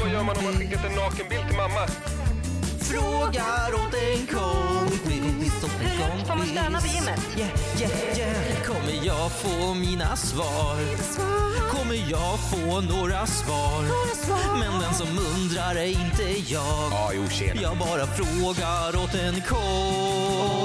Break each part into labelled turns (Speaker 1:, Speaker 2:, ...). Speaker 1: Vad gör man om man skickat en nakenbild till mamma?
Speaker 2: Frågar åt en kompis. Får man stöna på gymmet? Yeah, yeah, yeah. Kommer jag få mina svar? Kommer jag få några svar? Men den som undrar är inte jag.
Speaker 1: Ja, jo, tjena.
Speaker 2: Jag bara frågar åt en kompis.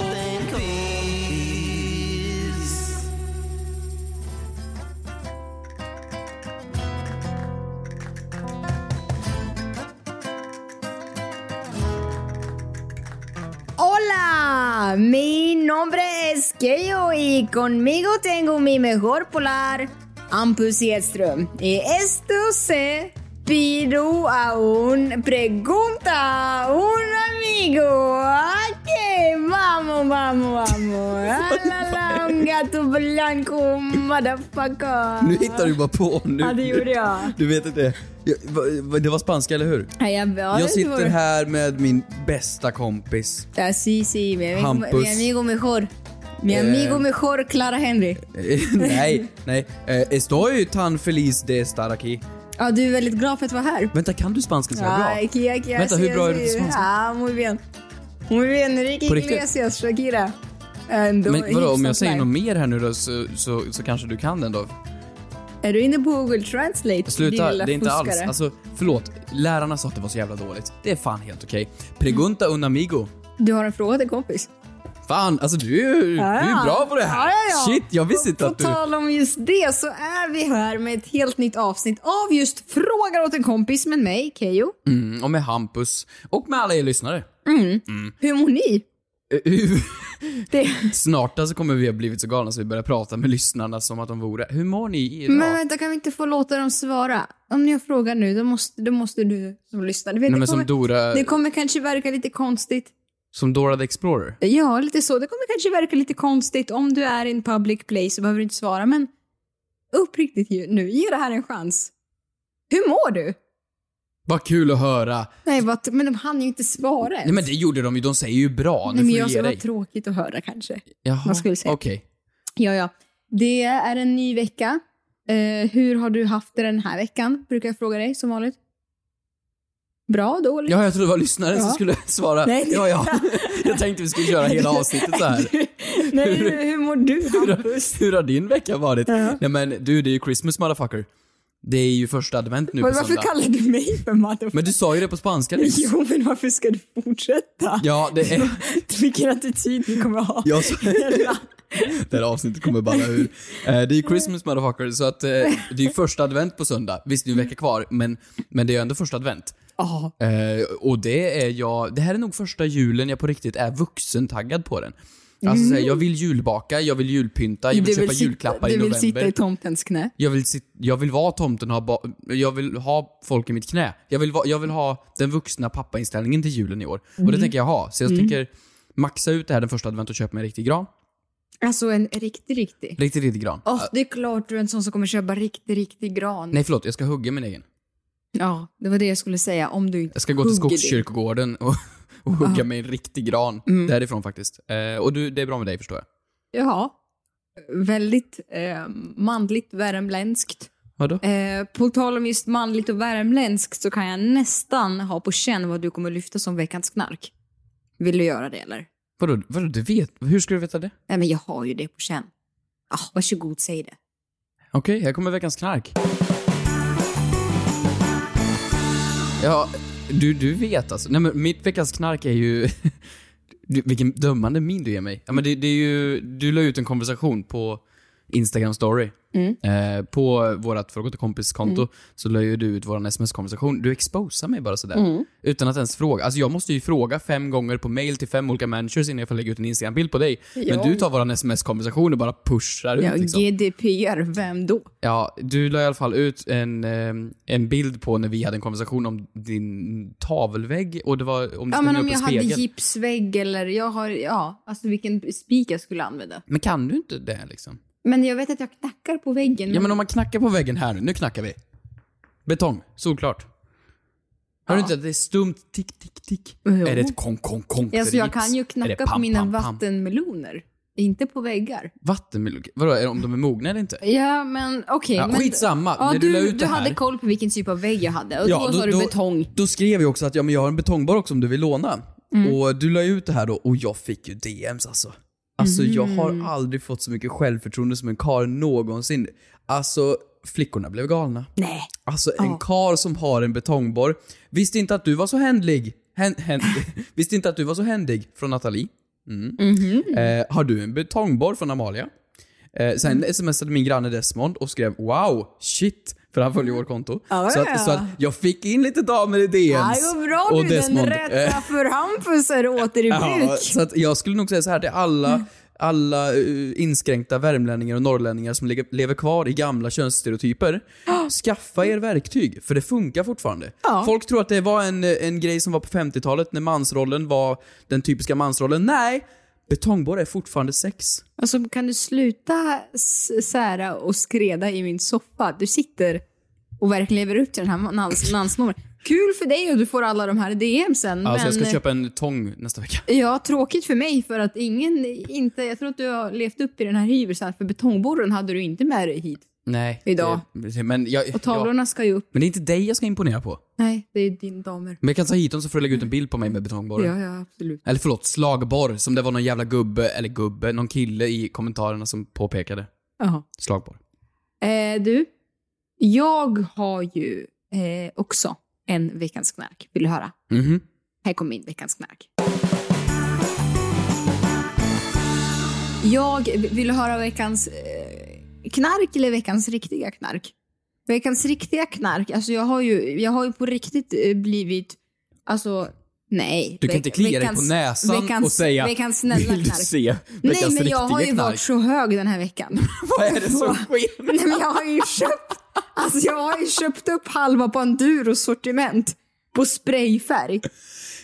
Speaker 3: Hola, mi nombre es Keyo y conmigo tengo mi mejor polar, Ampus Edström. Y esto se pido a un pregunta a un amigo. Ok, vamos, vamos, vamos. Ah, La, la, un gato blanco, motherfucker.
Speaker 4: Nu hittar du bara på. Nu,
Speaker 3: Ja, det gjorde jag.
Speaker 4: Du vet inte. Jag- va- va- Det var spanska, eller hur?
Speaker 3: Ja, jag, ja,
Speaker 4: Jag
Speaker 3: det var-
Speaker 4: sitter här med min bästa kompis.
Speaker 3: Ah, sí, sí, mi amigo,
Speaker 4: Hampus.
Speaker 3: mi amigo mejor. Mi
Speaker 4: Eh.
Speaker 3: amigo mejor, Clara Henry.
Speaker 4: Eh, nej, nej. Eh, Estoy tan feliz de estar aquí.
Speaker 3: Ja, du är väldigt glad för att vara här.
Speaker 4: Vänta, kan du spanska så
Speaker 3: Ah,
Speaker 4: bra?
Speaker 3: aquí, aquí,
Speaker 4: Vänta,
Speaker 3: así,
Speaker 4: hur bra är
Speaker 3: así.
Speaker 4: du på spanska?
Speaker 3: Ah, muy bien. Muy bien, Enrique
Speaker 4: På riktigt?
Speaker 3: Iglesias, Shakira. Ändå
Speaker 4: Men vadå, om jag
Speaker 3: hyfsat
Speaker 4: säger
Speaker 3: live.
Speaker 4: något mer här nu då så, så, så kanske du kan den då?
Speaker 3: Är du inne på Google Translate?
Speaker 4: Sluta,
Speaker 3: din lilla
Speaker 4: det är inte alls.
Speaker 3: fuskare?
Speaker 4: Alltså, förlåt. Lärarna sa att det var så jävla dåligt. Det är fan helt okej. Pregunta un amigo.
Speaker 3: Du har en fråga till kompis.
Speaker 4: Fan, alltså du, är ju- du är ju bra på det här.
Speaker 3: Ja, ja, ja.
Speaker 4: Shit, jag visste
Speaker 3: På-
Speaker 4: inte att du...
Speaker 3: På tal om just det så är vi här med ett helt nytt avsnitt av just Frågar åt en kompis med mig, Kejo.
Speaker 4: Mm, och med Hampus. Och med alla er lyssnare.
Speaker 3: Mm.
Speaker 4: Mm.
Speaker 3: Hur mår ni? Det...
Speaker 4: Snart alltså kommer vi ha blivit så galna så vi börjar prata med lyssnarna som att de vore... Hur mår ni idag?
Speaker 3: Men vänta, kan vi inte få låta dem svara? Om jag frågar nu, då måste, då måste du som lyssnar. Du vet,
Speaker 4: Nej,
Speaker 3: det,
Speaker 4: men
Speaker 3: kommer,
Speaker 4: som Dora...
Speaker 3: det kommer kanske verka lite konstigt.
Speaker 4: Som Dora the Explorer.
Speaker 3: Ja, lite så. Det kommer kanske verka lite konstigt. Om du är i en public place så behöver du inte svara, men uppriktigt ju- nu, ge det här en chans. Hur mår du?
Speaker 4: Vad kul att höra.
Speaker 3: Nej, vad, men de hann ju inte svara ens.
Speaker 4: Nej men det gjorde de ju, de säger ju bra. Nu
Speaker 3: Nej, men
Speaker 4: får
Speaker 3: jag
Speaker 4: du
Speaker 3: ska
Speaker 4: ge
Speaker 3: vara
Speaker 4: dig.
Speaker 3: tråkigt att höra kanske.
Speaker 4: Jaha,
Speaker 3: vad skulle du säga?
Speaker 4: okej.
Speaker 3: Ja, ja. Det är en ny vecka. Eh, hur har du haft det den här veckan? Brukar jag fråga dig som vanligt. Bra, dåligt?
Speaker 4: Ja, jag trodde det var lyssnaren som
Speaker 3: Ja.
Speaker 4: skulle svara.
Speaker 3: Nej, det-
Speaker 4: Ja, ja. Jag tänkte vi skulle köra hela avsnittet så här.
Speaker 3: Nej, hur, hur mår du Hampus?
Speaker 4: Hur, hur har din vecka varit? Nej men du, det är ju Christmas motherfucker. Det är ju första advent nu på
Speaker 3: Varför
Speaker 4: söndag.
Speaker 3: kallar du mig för motherfucker?
Speaker 4: Men du sa ju det på spanska nyss.
Speaker 3: Jo, men varför ska du fortsätta?
Speaker 4: Ja, det är...
Speaker 3: Vilken attityd du kommer ha.
Speaker 4: Jag sa... Det här avsnittet kommer balla ur. Eh, Det är ju Christmas motherfucker, så att eh, det är ju första advent på söndag. Visst, det är ju en vecka kvar, men, men det är ju ändå första advent.
Speaker 3: Ja.
Speaker 4: Eh, Och det är jag... Det här är nog första julen jag på riktigt är vuxentaggad på den. Alltså såhär, jag vill julbaka, jag vill julpynta, jag vill köpa julklappar i
Speaker 3: Du vill
Speaker 4: november.
Speaker 3: sitta i tomtens knä.
Speaker 4: jag vill, sit, jag vill vara tomten och ha ba, jag vill ha folk i mitt knä. Jag vill, va, jag vill ha den vuxna pappainställningen till julen i år. Och
Speaker 3: Mhm.
Speaker 4: det tänker jag ha. Så jag
Speaker 3: Mm.
Speaker 4: tänker maxa ut det här den första advent och köpa mig en riktig gran.
Speaker 3: Alltså en riktig, riktig.
Speaker 4: Riktig, riktig gran.
Speaker 3: Åh, det är klart du är en sån som kommer köpa riktig, riktig gran.
Speaker 4: Nej förlåt, jag ska hugga min egen.
Speaker 3: Ja, det var det jag skulle säga. Om du inte
Speaker 4: Jag ska gå till
Speaker 3: hugger det.
Speaker 4: Skogskyrkogården och, och hugga mig en riktig gran. Därifrån faktiskt. Eh, och du, det är bra med dig förstår jag.
Speaker 3: Jaha. Väldigt eh, manligt värmländskt.
Speaker 4: Vadå?
Speaker 3: Eh, på tal om just manligt och värmländskt så kan jag nästan ha på känn vad du kommer lyfta som veckans knark. Vill du göra det eller?
Speaker 4: Vadå, vadå, du vet? Hur ska du veta det?
Speaker 3: Nej men jag har ju det på känn. Ah, varsågod, säg det.
Speaker 4: Okej, här kommer veckans knark. Ja, du, du vet alltså. Nej men mitt veckans knark är ju... Du, vilken dömande min du ger mig. Ja, men det, det är ju... Du la ut en konversation på Instagram story.
Speaker 3: Mm.
Speaker 4: Eh, på vårt Fråga till kompis-konto så la ju du ut vår sms-konversation. Du exposar mig bara sådär.
Speaker 3: Mm.
Speaker 4: Utan att ens fråga. Alltså jag måste ju fråga fem gånger på mail till fem olika managers innan jag får lägga ut en Instagram-bild på dig.
Speaker 3: Ja.
Speaker 4: Men du tar vår sms-konversation och bara pushar ut.
Speaker 3: Ja,
Speaker 4: liksom.
Speaker 3: GDPR, vem då?
Speaker 4: Ja, du la i alla fall ut en, eh, en bild på när vi hade en konversation om din tavelvägg och det var om du
Speaker 3: Ja,
Speaker 4: ställde
Speaker 3: men
Speaker 4: upp
Speaker 3: om
Speaker 4: en
Speaker 3: jag hade
Speaker 4: spegel.
Speaker 3: gipsvägg eller jag har, ja, alltså vilken spik jag skulle använda.
Speaker 4: Men kan du inte det liksom?
Speaker 3: Men jag vet att jag knackar på väggen.
Speaker 4: Ja men om man knackar på väggen här nu, nu knackar vi. Betong, solklart. Hör du inte att det är stumt tick, tick, tick?
Speaker 3: Jo.
Speaker 4: Är det ett kong, kong, kong?
Speaker 3: Ja,
Speaker 4: Är
Speaker 3: så
Speaker 4: det
Speaker 3: Alltså, jag
Speaker 4: gips?
Speaker 3: kan ju
Speaker 4: Är det
Speaker 3: knacka på
Speaker 4: pam,
Speaker 3: mina
Speaker 4: pam, pam?
Speaker 3: vattenmeloner. Inte på väggar.
Speaker 4: Vattenmelon? Vadå, är det om de är mogna eller inte?
Speaker 3: Ja, men okej.
Speaker 4: Ja,
Speaker 3: men-
Speaker 4: skitsamma.
Speaker 3: Ja,
Speaker 4: När du
Speaker 3: du
Speaker 4: la ut
Speaker 3: du
Speaker 4: det här-
Speaker 3: hade koll på vilken typ av vägg jag hade. Och då, sa du betong.
Speaker 4: Då skrev jag också att ja, men jag har en betongbar också om du vill låna.
Speaker 3: Mm.
Speaker 4: Och du la ju ut det här då och jag fick ju DMs alltså. Alltså jag
Speaker 3: Mm.
Speaker 4: har aldrig fått så mycket självförtroende som en karl någonsin. Alltså flickorna blev galna.
Speaker 3: Nej.
Speaker 4: Alltså en karl som har en betongborr. Visste inte att du var så händlig. Hän, hän, visste inte att du var så händig från Nathalie. Mm.
Speaker 3: Mhm.
Speaker 4: Eh, har du en betongborr från Amalia? Eh, sen
Speaker 3: Mm.
Speaker 4: smsade min granne Desmond och skrev “Wow, shit” för han följer vårt konto.
Speaker 3: Ja,
Speaker 4: så,
Speaker 3: ja.
Speaker 4: att, så att jag fick in lite damer i DMs.
Speaker 3: Ja, vad bra
Speaker 4: och
Speaker 3: du, den
Speaker 4: Desmond, eh,
Speaker 3: rätta för Hampus är åter i
Speaker 4: Ja,
Speaker 3: bruk.
Speaker 4: så att jag skulle nog säga så här till
Speaker 3: Mm.
Speaker 4: alla, alla eh, inskränkta värmlänningar och norrlänningar som ligger- lever kvar i gamla könsstereotyper. Skaffa er verktyg, för det funkar fortfarande.
Speaker 3: Ja.
Speaker 4: Folk tror att det var en, eh, en grej som var på 50-talet när mansrollen var den typiska mansrollen. Nej! Betongborre är fortfarande sex.
Speaker 3: Och så Alltså, kan du sluta s- sära och skreda i min soffa? Du sitter och verkligen lever upp till den här mans- mansnormen. Kul för dig och du får alla de här DM sen.
Speaker 4: Alltså jag
Speaker 3: men
Speaker 4: ska köpa en tång nästa vecka.
Speaker 3: Ja, tråkigt för mig för att ingen, inte, jag tror att du har levt upp i den här hyversen för betongborren hade du inte med dig hit.
Speaker 4: Nej.
Speaker 3: Idag.
Speaker 4: det- men, jag,
Speaker 3: Och
Speaker 4: ja.
Speaker 3: tavlorna ska ju upp.
Speaker 4: men det är inte dig jag ska imponera på.
Speaker 3: Nej, det är din damer.
Speaker 4: Men jag kan ta hit dem så får du lägga ut en bild på mig med betongborren.
Speaker 3: Ja, ja, absolut.
Speaker 4: Eller förlåt, slagborr som det var någon jävla gubbe, eller gubbe, någon kille i kommentarerna som påpekade.
Speaker 3: Jaha.
Speaker 4: Slagborr.
Speaker 3: Eh, du, jag har ju eh, också en veckans knark. Vill du höra?
Speaker 4: Mhm.
Speaker 3: Här kommer min veckans knark. Jag vill du höra veckans eh, knark eller veckans riktiga knark. Veckans riktiga knark, alltså jag har ju, jag har ju på riktigt eh, blivit, alltså nej.
Speaker 4: Du kan
Speaker 3: Veck-
Speaker 4: inte klia dig på näsan och säga
Speaker 3: veckans snälla
Speaker 4: Vill du
Speaker 3: knark.
Speaker 4: se veckans
Speaker 3: Nej men
Speaker 4: riktiga
Speaker 3: jag har ju
Speaker 4: knark?
Speaker 3: varit så hög den här veckan.
Speaker 4: Vad är det som sker?
Speaker 3: Nej, men jag har ju köpt, alltså jag har ju köpt upp halva Panduros sortiment på sprayfärg.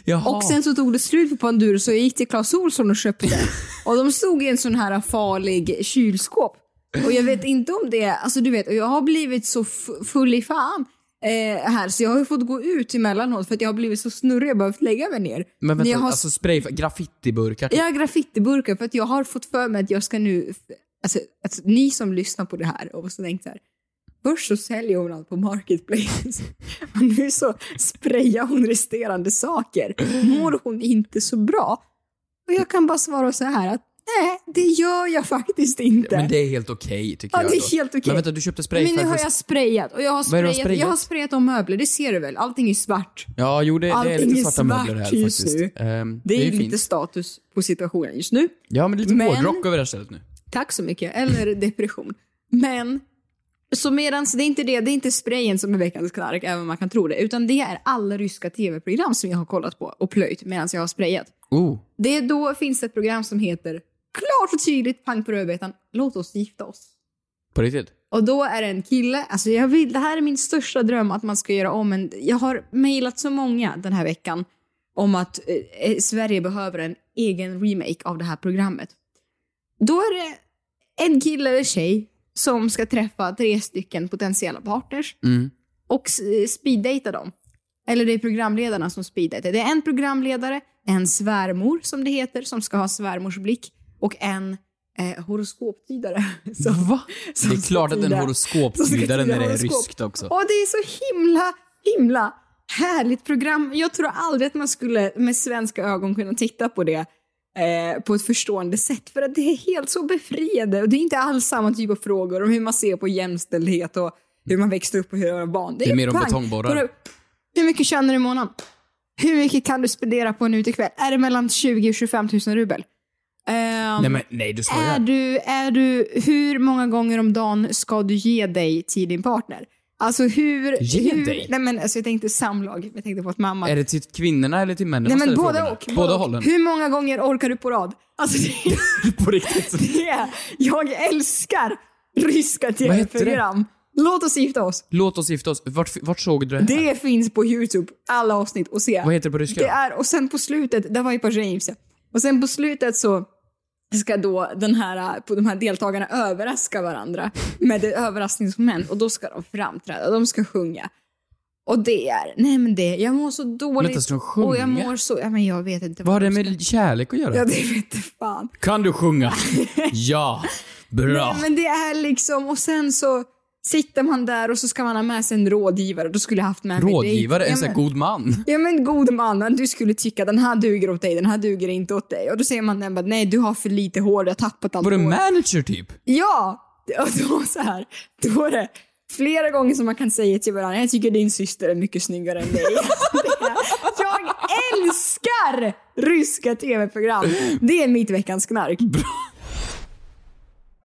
Speaker 4: Jaha.
Speaker 3: Och sen så tog det slut på Panduro så jag gick till Clas Ohlson och köpte. och de stod i en sån här farlig kylskåp. Och jag vet inte om det, alltså du vet, och jag har blivit så f- full i fan eh, här så jag har ju fått gå ut emellanåt för att jag har blivit så snurrig jag har behövt lägga mig ner.
Speaker 4: men vänta,
Speaker 3: jag har
Speaker 4: alltså spray, graffitiburkar?
Speaker 3: jag har graffitiburkar för att jag har fått för mig att jag ska nu... Alltså, alltså ni som lyssnar på det här och så tänkt så här. Först så säljer hon allt på Marketplace och nu så sprayar hon resterande saker. Mår hon inte så bra? Och jag kan bara svara så här att nej, det gör jag faktiskt inte.
Speaker 4: Men det är helt okej tycker
Speaker 3: Ja,
Speaker 4: jag.
Speaker 3: det är
Speaker 4: då.
Speaker 3: helt okej.
Speaker 4: Men vänta, du köpte spray
Speaker 3: Men nu
Speaker 4: för
Speaker 3: har
Speaker 4: för-
Speaker 3: jag sprayat och jag har
Speaker 4: Vad är det du har
Speaker 3: sprayat, jag har
Speaker 4: sprayat?
Speaker 3: sprayat om möbler, det ser du väl? Allting är svart.
Speaker 4: Ja, jo det, det är
Speaker 3: Allting
Speaker 4: lite
Speaker 3: är
Speaker 4: svarta möbler här
Speaker 3: svart just
Speaker 4: faktiskt.
Speaker 3: nu.
Speaker 4: Ehm,
Speaker 3: Det är,
Speaker 4: ju
Speaker 3: lite
Speaker 4: fint.
Speaker 3: status på situationen just nu.
Speaker 4: Ja, men det är lite
Speaker 3: Men-
Speaker 4: hårdrock över det här stället nu.
Speaker 3: Tack så mycket. Eller depression. Men, så medans det är inte det, det är inte sprayen som är veckans knark, även om man kan tro det, utan det är alla ryska tv-program som jag har kollat på och plöjt medan jag har sprayat.
Speaker 4: Oh.
Speaker 3: Det är då finns det ett program som heter Klart och tydligt, pang på rödbetan, låt oss gifta oss.
Speaker 4: På riktigt?
Speaker 3: Och då är det en kille, alltså jag vill, det här är min största dröm att man ska göra om en, jag har mejlat så många den här veckan om att eh, eh, Sverige behöver en egen remake av det här programmet. Då är det en kille eller tjej som ska träffa tre stycken potentiella partners
Speaker 4: Mm.
Speaker 3: och eh, speeddejta dem. Eller det är programledarna som speeddejtar. Det är en programledare, en svärmor som det heter, som ska ha svärmors blick och en eh, horoskoptydare. Som, Va?
Speaker 4: Det är klart att en
Speaker 3: Som ska
Speaker 4: horoskoptydare
Speaker 3: tyda
Speaker 4: när det är
Speaker 3: horoskop.
Speaker 4: ryskt också.
Speaker 3: Och det är så himla, himla härligt program. Jag tror aldrig att man skulle med svenska ögon kunna titta på det eh, på ett förstående sätt. För att det är helt så befriande. Och det är inte alls samma typ av frågor om hur man ser på jämställdhet och hur man växte upp och hur man var barn.
Speaker 4: Det är mer om
Speaker 3: pang.
Speaker 4: betongborrar.
Speaker 3: Bara, Hur mycket tjänar du i månaden? Hur mycket kan du spendera på en utekväll? Är det mellan 20 och 25 000 rubel? Ehm,
Speaker 4: Nej, men nej, du
Speaker 3: är,
Speaker 4: skojar.
Speaker 3: du, är du, hur många gånger om dagen ska du ge dig till din partner? Alltså hur...
Speaker 4: Ge
Speaker 3: hur,
Speaker 4: dig?
Speaker 3: Nej men alltså jag tänkte samlag, jag tänkte på att mamma...
Speaker 4: Är det till kvinnorna eller till männen?
Speaker 3: nej
Speaker 4: man
Speaker 3: men
Speaker 4: ställer
Speaker 3: båda
Speaker 4: frågorna?
Speaker 3: och.
Speaker 4: Båda
Speaker 3: och.
Speaker 4: hållen.
Speaker 3: Hur många gånger orkar du på rad? Alltså det,
Speaker 4: På riktigt.
Speaker 3: det är, jag älskar ryska
Speaker 4: heter det?
Speaker 3: tv-program. Låt oss gifta oss.
Speaker 4: Låt oss gifta oss. Vart, vart såg du det här?
Speaker 3: Det finns på Youtube, alla avsnitt och se.
Speaker 4: Vad heter det på ryska?
Speaker 3: Det är, och sen på slutet, det var ju på James. Och sen på slutet så ska då den här, på de här deltagarna överraska varandra med ett överraskningsmoment och då ska de framträda, de ska sjunga. Och det är, nej men det, jag mår så dåligt.
Speaker 4: Vänta, ska de sjunga?
Speaker 3: och jag mår så, ja men jag vet inte.
Speaker 4: Vad har det
Speaker 3: de ska-
Speaker 4: med kärlek att göra?
Speaker 3: Ja det vet jag fan.
Speaker 4: Kan du sjunga? ja. Bra.
Speaker 3: Nej men det är liksom, och sen så sitter man där och så ska man ha med sig en rådgivare. Då skulle jag haft med mig dig.
Speaker 4: Rådgivare,
Speaker 3: Ja,
Speaker 4: en sån här
Speaker 3: men-
Speaker 4: god man.
Speaker 3: Ja men god mannen, du skulle tycka den här duger åt dig, den här duger inte åt dig. Och då säger man den bara, nej du har för lite hår, jag har tappat allt
Speaker 4: Var du
Speaker 3: hår.
Speaker 4: manager typ?
Speaker 3: Ja! Och då så här, då är det flera gånger som man kan säga till varandra, jag tycker din syster är mycket snyggare än dig. jag älskar ryska tv-program! Det är mitt veckans knark.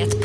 Speaker 5: Ett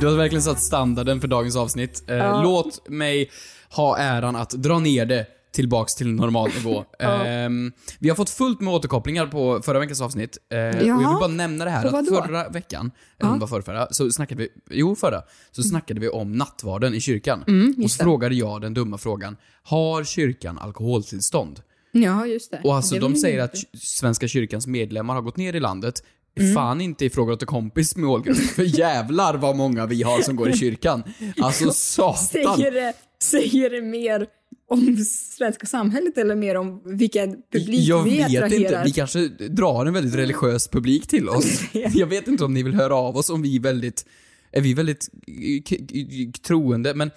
Speaker 4: Du har verkligen satt standarden för dagens avsnitt. Eh, Låt mig ha äran att dra ner det tillbaks till normal nivå. Ehm, vi har fått fullt med återkopplingar på förra veckans avsnitt. Eh, och jag vill
Speaker 3: Jaha.
Speaker 4: bara nämna det här
Speaker 3: Och
Speaker 4: att
Speaker 3: vadå?
Speaker 4: förra veckan, eller om det var förra, så snackade vi, jo förra,
Speaker 3: Mm.
Speaker 4: så snackade vi om nattvarden i kyrkan. och så frågade jag den dumma frågan, har kyrkan alkoholtillstånd?
Speaker 3: Ja, just det.
Speaker 4: Och alltså
Speaker 3: det
Speaker 4: de säger att ky- Svenska kyrkans medlemmar har gått ner i landet.
Speaker 3: Mm.
Speaker 4: Fan inte ifrågasätt till kompis med ålgrupp. För jävlar vad många vi har som går i kyrkan. Alltså satan.
Speaker 3: Säger det, säger det mer om svenska samhället eller mer om vilken publik Mm.
Speaker 4: Jag
Speaker 3: vi
Speaker 4: vet
Speaker 3: attraherar?
Speaker 4: inte, vi kanske drar en väldigt religiös publik till oss. Jag vet inte om ni vill höra av oss om vi är väldigt, är vi väldigt k- k- troende, men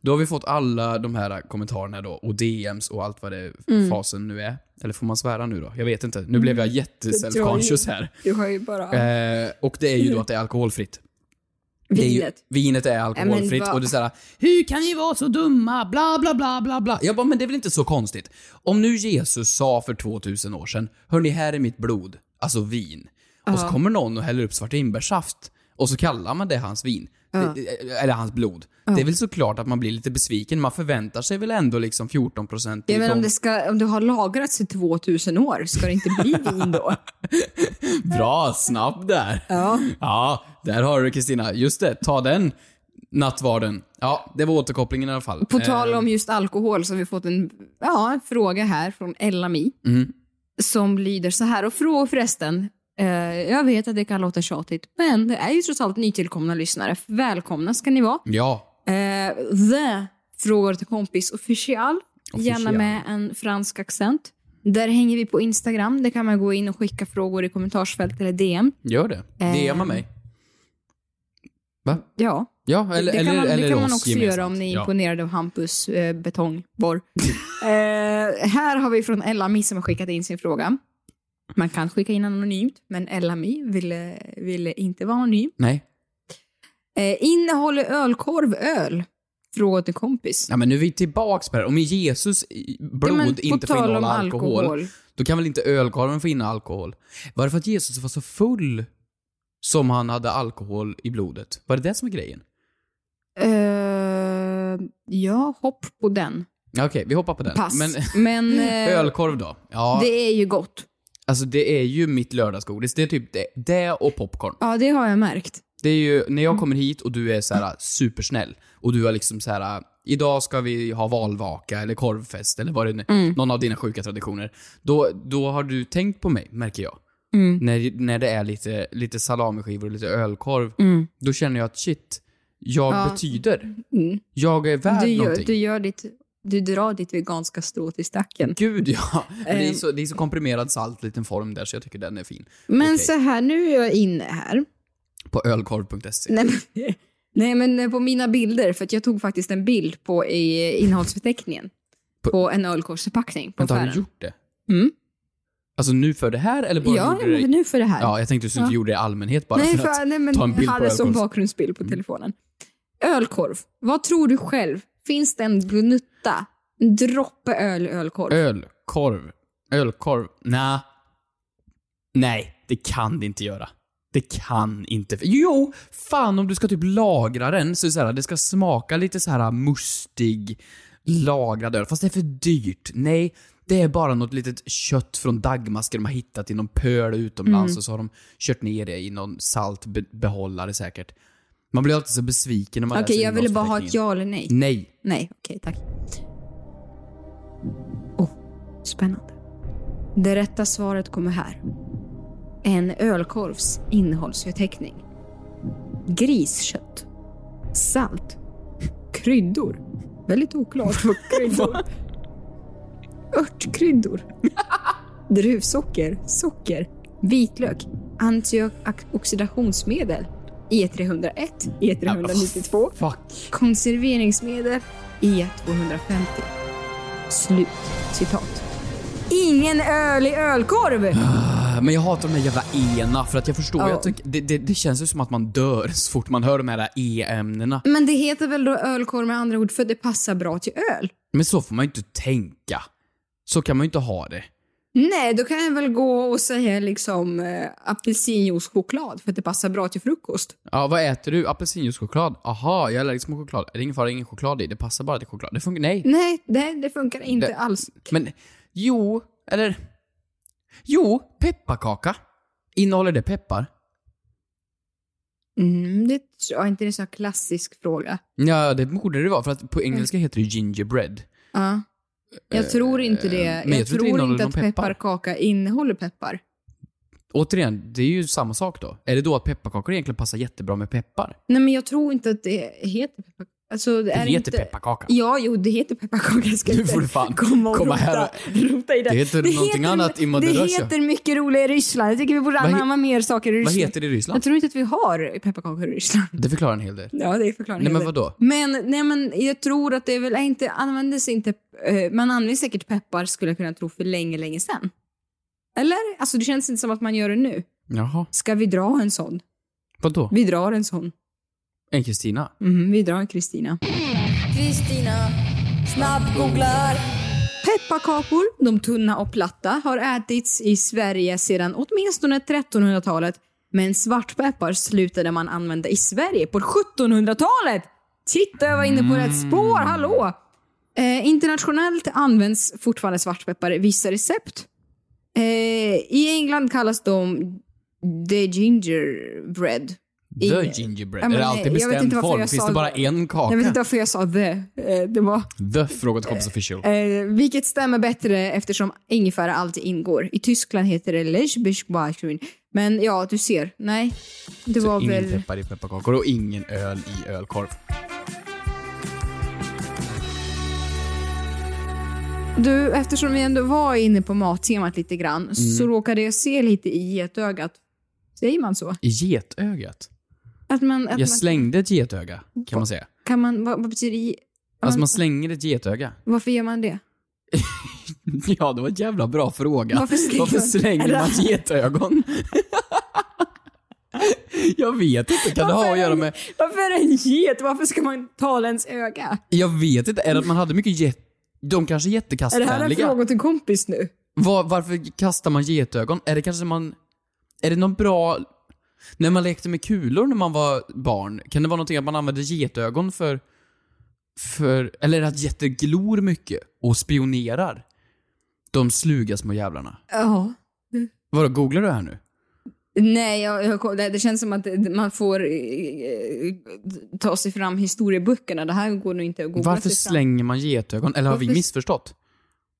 Speaker 4: då har vi fått alla de här kommentarerna då, och DMs och allt vad det
Speaker 3: Mm.
Speaker 4: fasen nu är. Eller får man svära nu då? Jag vet inte. Nu blev jag jätteselfconscious här.
Speaker 3: Du har ju bara
Speaker 4: Eh, och det är ju då att det är alkoholfritt. Det är ju,
Speaker 3: Mm. vinet.
Speaker 4: vinet är
Speaker 3: Nej,
Speaker 4: alkoholfritt
Speaker 3: men vad-
Speaker 4: och det är såhär Hur kan ni vara så dumma? Bla bla bla bla bla. Jag bara, men det är väl inte så konstigt? Om nu Jesus sa för 2000 år sedan, hörni här är mitt blod, alltså vin. Och så kommer någon och häller upp svartinbärssaft och så kallar man det hans vin. Det- Eller hans blod. Det är väl såklart att man blir lite besviken, man förväntar sig väl ändå liksom 14%
Speaker 3: Ja,
Speaker 4: i
Speaker 3: men om
Speaker 4: de-
Speaker 3: det, ska, om det har lagrats i 2000 år, ska det inte bli vin då?
Speaker 4: Bra, snabb där. Ja. ja, där har du Kristina. Just det, ta den nattvarden. Ja, det var återkopplingen i alla fall.
Speaker 3: På tal om just alkohol så har vi fått en, ja, en fråga här från Ellami.
Speaker 4: Mm.
Speaker 3: Som lyder så här, och fråga förresten. Eh, jag vet att det kan låta tjatigt, men det är ju trots allt nytillkomna lyssnare. Välkomna ska ni vara.
Speaker 4: Ja.
Speaker 3: Eh, the frågar till kompis official. Gärna
Speaker 4: Official.
Speaker 3: med en fransk accent. Där hänger vi på Instagram. Där kan man gå in och skicka frågor i kommentarsfält eller DM.
Speaker 4: Gör
Speaker 3: Eh.
Speaker 4: det. DMa mig. Va?
Speaker 3: Ja,
Speaker 4: Ja, eller,
Speaker 3: det kan
Speaker 4: eller,
Speaker 3: man,
Speaker 4: eller
Speaker 3: det kan
Speaker 4: oss
Speaker 3: man också
Speaker 4: gemensamt.
Speaker 3: göra om ni är
Speaker 4: ja.
Speaker 3: imponerade av Hampus eh, betongborr. eh, här har vi från Ellami som har skickat in sin fråga. Man kan skicka in anonymt, men Ellami ville, ville inte vara anonym.
Speaker 4: Nej.
Speaker 3: Eh, innehåller ölkorv öl? Fråga till kompis.
Speaker 4: Ja, men nu är vi tillbaks på det här. Om Jesus i- blod
Speaker 3: men på
Speaker 4: inte får
Speaker 3: tal om
Speaker 4: innehålla alkohol,
Speaker 3: alkohol.
Speaker 4: då kan väl inte ölkorven få innehålla alkohol? Var det för att Jesus var så full som han hade alkohol i blodet? Var det det som är grejen?
Speaker 3: Eh, ja, hopp på den.
Speaker 4: Ja, Okej, vi hoppar på den.
Speaker 3: Pass.
Speaker 4: Men,
Speaker 3: Men, eh,
Speaker 4: ölkorv då? Ja,
Speaker 3: det är ju gott.
Speaker 4: alltså det är ju mitt lördagsgodis. Det är typ det, det och popcorn.
Speaker 3: Ja, det har jag märkt.
Speaker 4: Det är ju när jag kommer hit och du är så här supersnäll och du har liksom så här idag ska vi ha valvaka eller korvfest eller vad det nu
Speaker 3: Mm,
Speaker 4: någon av dina sjuka traditioner. Då, då har du tänkt på mig, märker jag.
Speaker 3: mm,
Speaker 4: När, när det är lite, lite salamiskivor och lite ölkorv, då känner jag att shit, jag betyder.
Speaker 3: mm.
Speaker 4: Jag är värd
Speaker 3: Du gör,
Speaker 4: någonting.
Speaker 3: du, gör ditt, du drar ditt veganska strå till stacken.
Speaker 4: Gud ja! Men
Speaker 3: Ehm.
Speaker 4: det, är så, det är så komprimerad salt, liten form där, så jag tycker den är fin.
Speaker 3: Men
Speaker 4: Okej. Typ.
Speaker 3: så här, nu är jag inne här.
Speaker 4: På ölkorv.se.
Speaker 3: Nej men, nej, men eh, på mina bilder, för att jag tog faktiskt en bild på i innehållsförteckningen. På, en ölkorvsförpackning på
Speaker 4: Vänta, har du
Speaker 3: affären. Mm.
Speaker 4: gjort det? Alltså nu för det här eller bara
Speaker 3: Ja,
Speaker 4: gjorde du det?
Speaker 3: men nu för det här.
Speaker 4: Ja, jag tänkte att du inte
Speaker 3: Ja.
Speaker 4: gjorde det i allmänhet bara
Speaker 3: nej,
Speaker 4: för att
Speaker 3: nej, men
Speaker 4: ta en bild
Speaker 3: jag
Speaker 4: på Mm.
Speaker 3: hade som
Speaker 4: ölkorv.
Speaker 3: bakgrundsbild på telefonen. Ölkorv. Vad tror du själv? Finns det en gnutta? En droppe öl i ölkorv?
Speaker 4: Ölkorv. Ölkorv. Nä. Nej, det kan det inte göra. Det kan inte. Jo, fan om du ska typ lagra den så är det så här, det ska smaka lite så här mustig lagrad öl. Fast det är för dyrt. Nej, det är bara något litet kött från dagmasker de har hittat i någon pöl utomlands
Speaker 3: Mm.
Speaker 4: och så har de kört ner det i någon saltbehållare säkert. Man blir alltid så besviken när man
Speaker 3: Okej,
Speaker 4: läser
Speaker 3: jag ville bara ha ett
Speaker 4: innehållsförteckningen.
Speaker 3: ja eller nej.
Speaker 4: Nej.
Speaker 3: Nej, okej, tack. Åh, spännande. Det rätta svaret kommer här. En ölkorvs innehållsförteckning. Griskött. Salt. Kryddor. Väldigt oklart vad kryddor... Örtkryddor. Druvsocker. Socker. Vitlök. Antioxidationsmedel. E E301. E392.
Speaker 4: Fuck.
Speaker 3: Konserveringsmedel E250. Slut citat. Ingen öl i ölkorv!
Speaker 4: Men jag hatar de här jävla ena för att jag förstår,
Speaker 3: Ja.
Speaker 4: jag tycker, det, det, det känns ju som att man dör så fort man hör de här e-ämnena.
Speaker 3: Men det heter väl då ölkorv med andra ord för det passar bra till öl?
Speaker 4: Men så får man ju inte tänka. Så kan man ju inte ha det.
Speaker 3: Nej, då kan jag väl gå och säga liksom eh, apelsinjuicechoklad för att det passar bra till frukost.
Speaker 4: Ja, vad äter du? Apelsinjuicechoklad? Aha, jag är allergisk mot choklad. Det är ingen fara, det är ingen choklad i. Det passar bara till choklad. Det funkar, nej.
Speaker 3: Nej, det, det funkar inte
Speaker 4: Det-
Speaker 3: alls.
Speaker 4: Men, jo, eller... Jo, pepparkaka. Innehåller det peppar?
Speaker 3: Mm, det tror jag inte. Det är en sån här klassisk fråga.
Speaker 4: Ja, det borde det vara för att på
Speaker 3: Mm.
Speaker 4: engelska heter det gingerbread.
Speaker 3: Ja. Jag tror inte det.
Speaker 4: men
Speaker 3: Eh, Jag,
Speaker 4: jag tror
Speaker 3: tror,
Speaker 4: inte det innehåller
Speaker 3: inte att
Speaker 4: någon peppar.
Speaker 3: pepparkaka innehåller peppar.
Speaker 4: Återigen, det är ju samma sak då. Är det då att pepparkakor egentligen passar jättebra med peppar?
Speaker 3: Nej, men jag tror inte att det heter pepparkaka. Alltså, det
Speaker 4: Det
Speaker 3: är
Speaker 4: heter
Speaker 3: inte...
Speaker 4: pepparkaka.
Speaker 3: Ja, jo, det heter pepparkaka. Jag ska
Speaker 4: Nu
Speaker 3: inte
Speaker 4: får du fan
Speaker 3: komma, och
Speaker 4: komma
Speaker 3: rota,
Speaker 4: här
Speaker 3: rota i det.
Speaker 4: Det heter någonting annat i Madeira.
Speaker 3: Det heter mycket roligare i Ryssland. Jag tycker vi borde
Speaker 4: Vad he-
Speaker 3: anamma mer saker i Ryssland.
Speaker 4: Vad heter det i
Speaker 3: Jag
Speaker 4: Ryssland?
Speaker 3: tror inte att vi har pepparkakor i Ryssland.
Speaker 4: Det förklarar en hel del.
Speaker 3: Ja, det förklarar
Speaker 4: Nej,
Speaker 3: en hel
Speaker 4: men
Speaker 3: del.
Speaker 4: vadå?
Speaker 3: Men, nej, men jag tror att det är väl inte, användes inte, eh, man använder säkert peppar skulle jag kunna tro för länge, länge sedan. Eller? Alltså det känns inte som att man gör det nu.
Speaker 4: Jaha.
Speaker 3: Ska vi dra en sån?
Speaker 4: Vadå?
Speaker 3: Vi drar en sån.
Speaker 4: En Kristina?
Speaker 3: Mm, vi drar en Kristina.
Speaker 6: Kristina, snabbgooglar.
Speaker 3: Pepparkakor, de tunna och platta, har ätits i Sverige sedan åtminstone 1300-talet. Men svartpeppar slutade man använda i Sverige på 1700-talet! Titta, jag var inne på rätt spår, hallå! Eh, internationellt används fortfarande svartpeppar i vissa recept. Eh, I England kallas de the gingerbread.
Speaker 4: The
Speaker 3: I-
Speaker 4: gingerbread?
Speaker 3: Ja, men
Speaker 4: är
Speaker 3: nej,
Speaker 4: det alltid
Speaker 3: jag vet
Speaker 4: bestämd
Speaker 3: inte varför
Speaker 4: form?
Speaker 3: jag
Speaker 4: Finns
Speaker 3: sa
Speaker 4: det bara
Speaker 3: det.
Speaker 4: en kaka?
Speaker 3: Jag vet inte varför jag sa the. Eh, det var...
Speaker 4: The? Frågat kompis official.
Speaker 3: Eh, vilket stämmer bättre eftersom ingefära alltid ingår. I Tyskland heter det Lesbischbachgrün. Men ja, du ser. Nej, det var
Speaker 4: ingen
Speaker 3: väl...
Speaker 4: peppar i pepparkakor och ingen öl i ölkorv.
Speaker 3: Du, eftersom vi ändå var inne på mattemat lite grann så
Speaker 4: Mm.
Speaker 3: råkade jag se lite i getögat. Säger man så?
Speaker 4: I getögat?
Speaker 3: Att man... Att man
Speaker 4: Jag slängde ett getöga, kan man säga.
Speaker 3: kan man vad, vad betyder det?
Speaker 4: Alltså man slänger ett getöga.
Speaker 3: Varför gör man det?
Speaker 4: Ja, det var en jävla bra fråga.
Speaker 3: Varför slänger
Speaker 4: Varför
Speaker 3: man-
Speaker 4: slänger man getögon? Jag vet inte. Kan det ha att göra med...
Speaker 3: Varför är det en get? Varför ska man tala ens öga?
Speaker 4: Jag vet inte. Är det att man hade mycket get... De
Speaker 3: Är det här en
Speaker 4: kanske är jättekastvänliga.
Speaker 3: fråga till en kompis nu?
Speaker 4: Var, varför kastar man getögon? Är det kanske man... Är det någon bra... När man lekte med kulor när man var barn, kan det vara någonting att man använde getögon för... För... Eller är det att getter glor mycket och spionerar? De sluga små jävlarna.
Speaker 3: Ja.
Speaker 4: Vadå, googlar du här nu?
Speaker 3: Nej, jag, jag, kom- det, det känns som att det- man får eh, ta sig fram historieböckerna. Det här går nog inte att googla
Speaker 4: Varför
Speaker 3: sig fram.
Speaker 4: slänger man getögon? Eller har vi
Speaker 3: Varför-
Speaker 4: missförstått?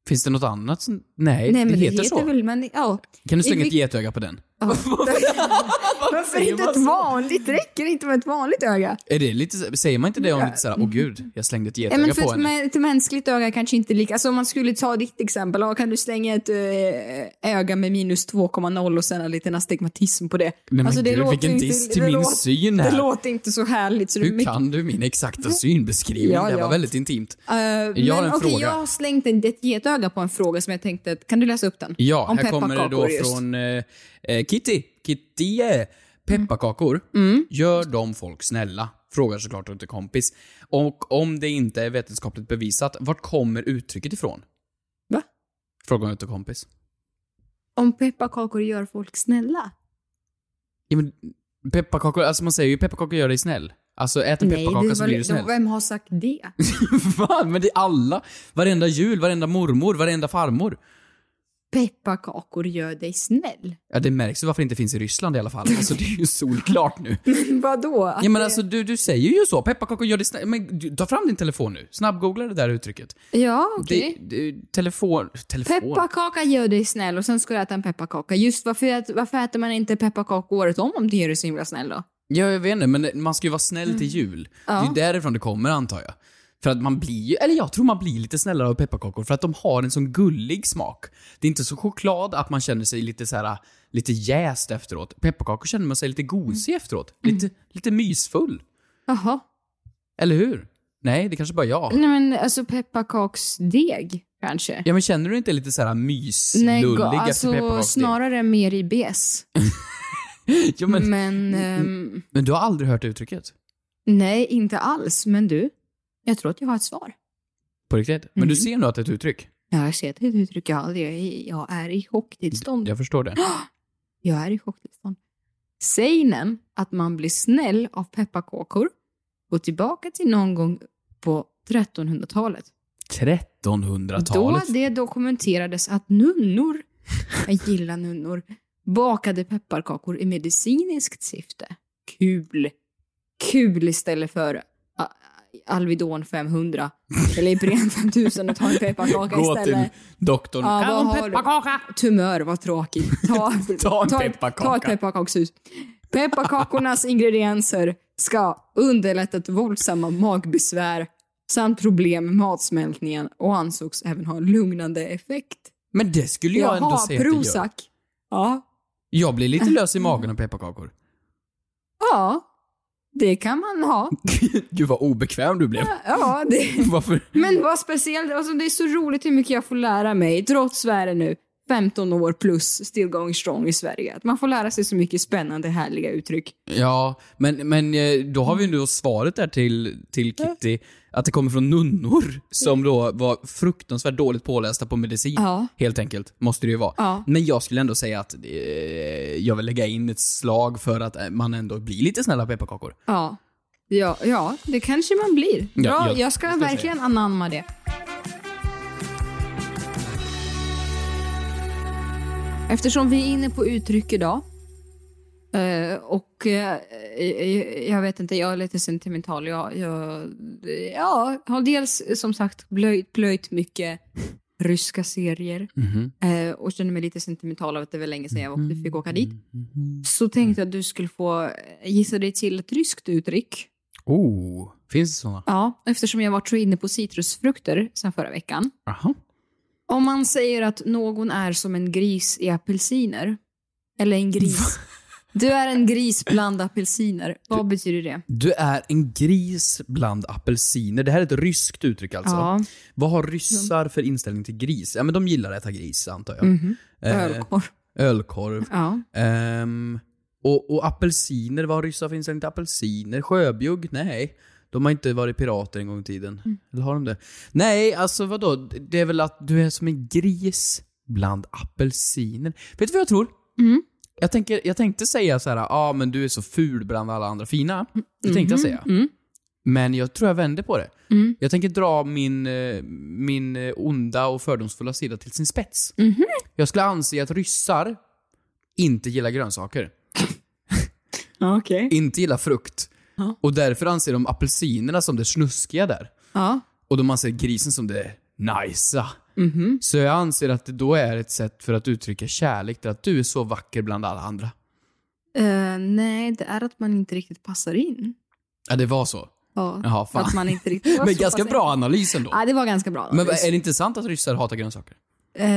Speaker 4: Finns det något annat som... Nej,
Speaker 3: Nej, men
Speaker 4: det heter så.
Speaker 3: väl, men ja.
Speaker 4: Kan du slänga
Speaker 3: Vi-
Speaker 4: ett getöga på den?
Speaker 3: Varför inte ett vanligt? Räcker det inte med ett vanligt öga?
Speaker 4: Är det lite, så- säger man inte det om lite såhär, åh gud, jag slängde ett
Speaker 3: Nej, men
Speaker 4: getöga
Speaker 3: för
Speaker 4: på
Speaker 3: ett,
Speaker 4: henne?
Speaker 3: mä- ett mänskligt öga kanske inte lika... Alltså om man skulle ta ditt exempel, ja, kan du slänga ett eh, öga med minus 2,0 och sen en liten astigmatism på det?
Speaker 4: men
Speaker 3: alltså, det
Speaker 4: gud, vilken diss till
Speaker 3: det
Speaker 4: min
Speaker 3: låter-
Speaker 4: syn här.
Speaker 3: Det låter inte så härligt. Så det är
Speaker 4: Hur
Speaker 3: mycket- Mm.
Speaker 4: kan du min exakta synbeskrivning?
Speaker 3: Ja,
Speaker 4: det var
Speaker 3: ja.
Speaker 4: väldigt intimt.
Speaker 3: Eh,
Speaker 4: jag har
Speaker 3: men,
Speaker 4: en
Speaker 3: okej,
Speaker 4: fråga.
Speaker 3: jag har slängt en, ett getöga på en fråga som jag tänkte att, kan du läsa upp den?
Speaker 4: Ja,
Speaker 3: Om
Speaker 4: här kommer det då
Speaker 3: pepparkakor just. Mm.
Speaker 4: från eh, eh, Kitty. Kitty! eh, Pepparkakor. Gör de folk snälla? Frågar såklart inte kompis. Och om det inte är vetenskapligt bevisat, vart kommer uttrycket ifrån?
Speaker 3: Va?
Speaker 4: Frågar inte kompis.
Speaker 3: Om pepparkakor gör folk snälla?
Speaker 4: Ja, men pepparkakor, alltså man säger ju pepparkakor gör dig snäll. Alltså ät en pepparkaka så
Speaker 3: var-
Speaker 4: blir du snäll.
Speaker 3: vem har sagt det?
Speaker 4: Va? Men det är alla. Varenda jul, varenda mormor, varenda farmor.
Speaker 3: Pepparkakor gör dig snäll.
Speaker 4: Ja, det märks ju varför det inte finns i Ryssland i alla fall. Alltså det är ju solklart nu.
Speaker 3: Vadå? Att
Speaker 4: Ja men
Speaker 3: det-
Speaker 4: alltså du, du säger ju så. Pepparkakor gör det snabbt. Men du, ta fram din telefon nu. Snabbgoogla det där uttrycket.
Speaker 3: ja
Speaker 4: Det,
Speaker 3: okej.
Speaker 4: det, telefon... Telefon?
Speaker 3: Pepparkaka gör dig snäll och sen ska du äta en pepparkaka. Just varför, ät- varför äter man inte pepparkakor året om om det gör dig så himla snäll då?
Speaker 4: Ja, jag vet inte, men man ska ju vara snäll till jul. Det är därifrån det kommer antar jag. För att man blir ju, eller jag tror man blir lite snällare av pepparkakor för att de har en sån gullig smak. Det är inte så choklad att man känner sig lite så här, lite jäst efteråt. Pepparkakor känner man sig lite gosig efteråt. Lite, lite mysfull.
Speaker 3: Jaha.
Speaker 4: Eller hur? Nej, det kanske bara jag.
Speaker 3: Nej men alltså pepparkaksdeg kanske?
Speaker 4: Ja men känner du inte lite så här myslullig
Speaker 3: Nej, go-
Speaker 4: efter
Speaker 3: alltså
Speaker 4: pepparkaksdeg?
Speaker 3: snarare Mm. mer i bes.
Speaker 4: Jo, men, men...
Speaker 3: Men ehm,
Speaker 4: du har aldrig hört uttrycket?
Speaker 3: nej, inte alls. Men du, jag tror att jag har ett svar.
Speaker 4: På riktigt? Men
Speaker 3: Mm.
Speaker 4: du ser nu att det är ett uttryck?
Speaker 3: Ja, jag ser att det är ett uttryck jag aldrig... Jag är- Jag är i chocktillstånd.
Speaker 4: Jag förstår det.
Speaker 3: Jag är i chocktillstånd. Sägnen att man blir snäll av pepparkakor går tillbaka till någon gång på 1300-talet.
Speaker 4: 1300-talet?
Speaker 3: Då det dokumenterades att nunnor, jag gillar nunnor, bakade pepparkakor i medicinskt syfte. Kul. Kul istället för a- Alvedon 500 eller Ipren 5000 och ta en pepparkaka
Speaker 4: Gå till
Speaker 3: istället.
Speaker 4: doktorn.
Speaker 3: Ja,
Speaker 4: kan
Speaker 3: vad
Speaker 4: hon
Speaker 3: har du?
Speaker 4: pepparkaka?
Speaker 3: Tumör, vad tråkigt. Ta,
Speaker 4: Ta en
Speaker 3: ta,
Speaker 4: pepparkaka.
Speaker 3: Ta ett pepparkakshus. Pepparkakornas ingredienser ska underlätta till våldsamma magbesvär samt problem med matsmältningen och ansågs även ha en lugnande effekt.
Speaker 4: Men det skulle jag ändå säga att det gör.
Speaker 3: Prozac. Ja.
Speaker 4: Jag blir lite lös i magen av pepparkakor.
Speaker 3: ja, det kan man ha.
Speaker 4: Gud vad obekväm du blev.
Speaker 3: Ja, det...
Speaker 4: Varför?
Speaker 3: Men vad speciellt, alltså det är så roligt hur mycket jag får lära mig, trots vad är det nu, 15 år plus still going strong i Sverige. Att man får lära sig så mycket spännande, härliga uttryck.
Speaker 4: Ja, men, men eh, då har vi nu då svaret där till, till Kitty. Att det kommer från nunnor som då var fruktansvärt dåligt pålästa på medicin.
Speaker 3: Ja.
Speaker 4: Helt enkelt, måste det ju vara.
Speaker 3: Ja.
Speaker 4: Men jag skulle ändå säga att eh, jag vill lägga in ett slag för att eh, man ändå blir lite snälla pepparkakor.
Speaker 3: Ja. Ja, ja, det kanske man blir. Bra,
Speaker 4: Ja,
Speaker 3: jag,
Speaker 4: jag-
Speaker 3: ska
Speaker 4: jag ska
Speaker 3: verkligen anamma det. Eftersom vi är inne på uttryck idag eh, och eh, eh, jag vet inte, jag är lite sentimental. Jag, jag, ja, har dels som sagt plöjt, plöjt mycket ryska serier eh, och känner mig lite sentimental av att det var länge sedan jag åkte, fick åka dit. Så
Speaker 4: Mm.
Speaker 3: tänkte jag att du skulle få eh, gissa dig till ett ryskt uttryck.
Speaker 4: Oh, finns det såna?
Speaker 3: Ja, eftersom jag varit så inne på citrusfrukter sen förra veckan.
Speaker 4: Aha.
Speaker 3: Om man säger att någon är som en gris i apelsiner, eller en gris. Du är en gris bland apelsiner. Vad betyder det?
Speaker 4: Du är en gris bland apelsiner. Det här är ett ryskt uttryck alltså.
Speaker 3: Ja.
Speaker 4: Vad har ryssar för inställning till gris? Ja, men de gillar att äta gris, antar jag. Eh,
Speaker 3: Mm. Ölkorv.
Speaker 4: ölkorv.
Speaker 3: Mhm. Ja.
Speaker 4: Ehm, och, och apelsiner, vad har ryssar för inställning till apelsiner? Sjöbjugg? Nej. De har inte varit pirater en gång i tiden. Eller har de det? Nej, alltså vadå? Det är väl att du är som en gris bland apelsiner. Vet du vad jag tror? Jag, tänker, jag tänkte säga så här, ja ah, men du är så ful bland alla andra fina. Det tänkte jag säga. Men jag tror jag vände på det. Jag tänker dra min, eh, min eh, onda och fördomsfulla sida till sin spets. Jag skulle anse att ryssar inte gillar grönsaker.
Speaker 3: Ja, Okej.
Speaker 4: inte gillar frukt. Och därför anser de apelsinerna som det snuskiga där.
Speaker 3: Ja.
Speaker 4: Och de anser grisen som det najsa.
Speaker 3: Mhm. Mm.
Speaker 4: Så jag anser att det då är ett sätt för att uttrycka kärlek till att du är så vacker bland alla andra.
Speaker 3: Eh, nej, det är att man inte riktigt passar in.
Speaker 4: Ja, det var så.
Speaker 3: Ja,
Speaker 4: Jaha,
Speaker 3: för
Speaker 4: fan.
Speaker 3: Mm. att man inte riktigt var
Speaker 4: Men
Speaker 3: så
Speaker 4: ganska
Speaker 3: pass-
Speaker 4: bra analys ändå.
Speaker 3: Ja, det var ganska bra.
Speaker 4: Men vad- är det inte sant att ryssar hatar grönsaker?
Speaker 3: Eh,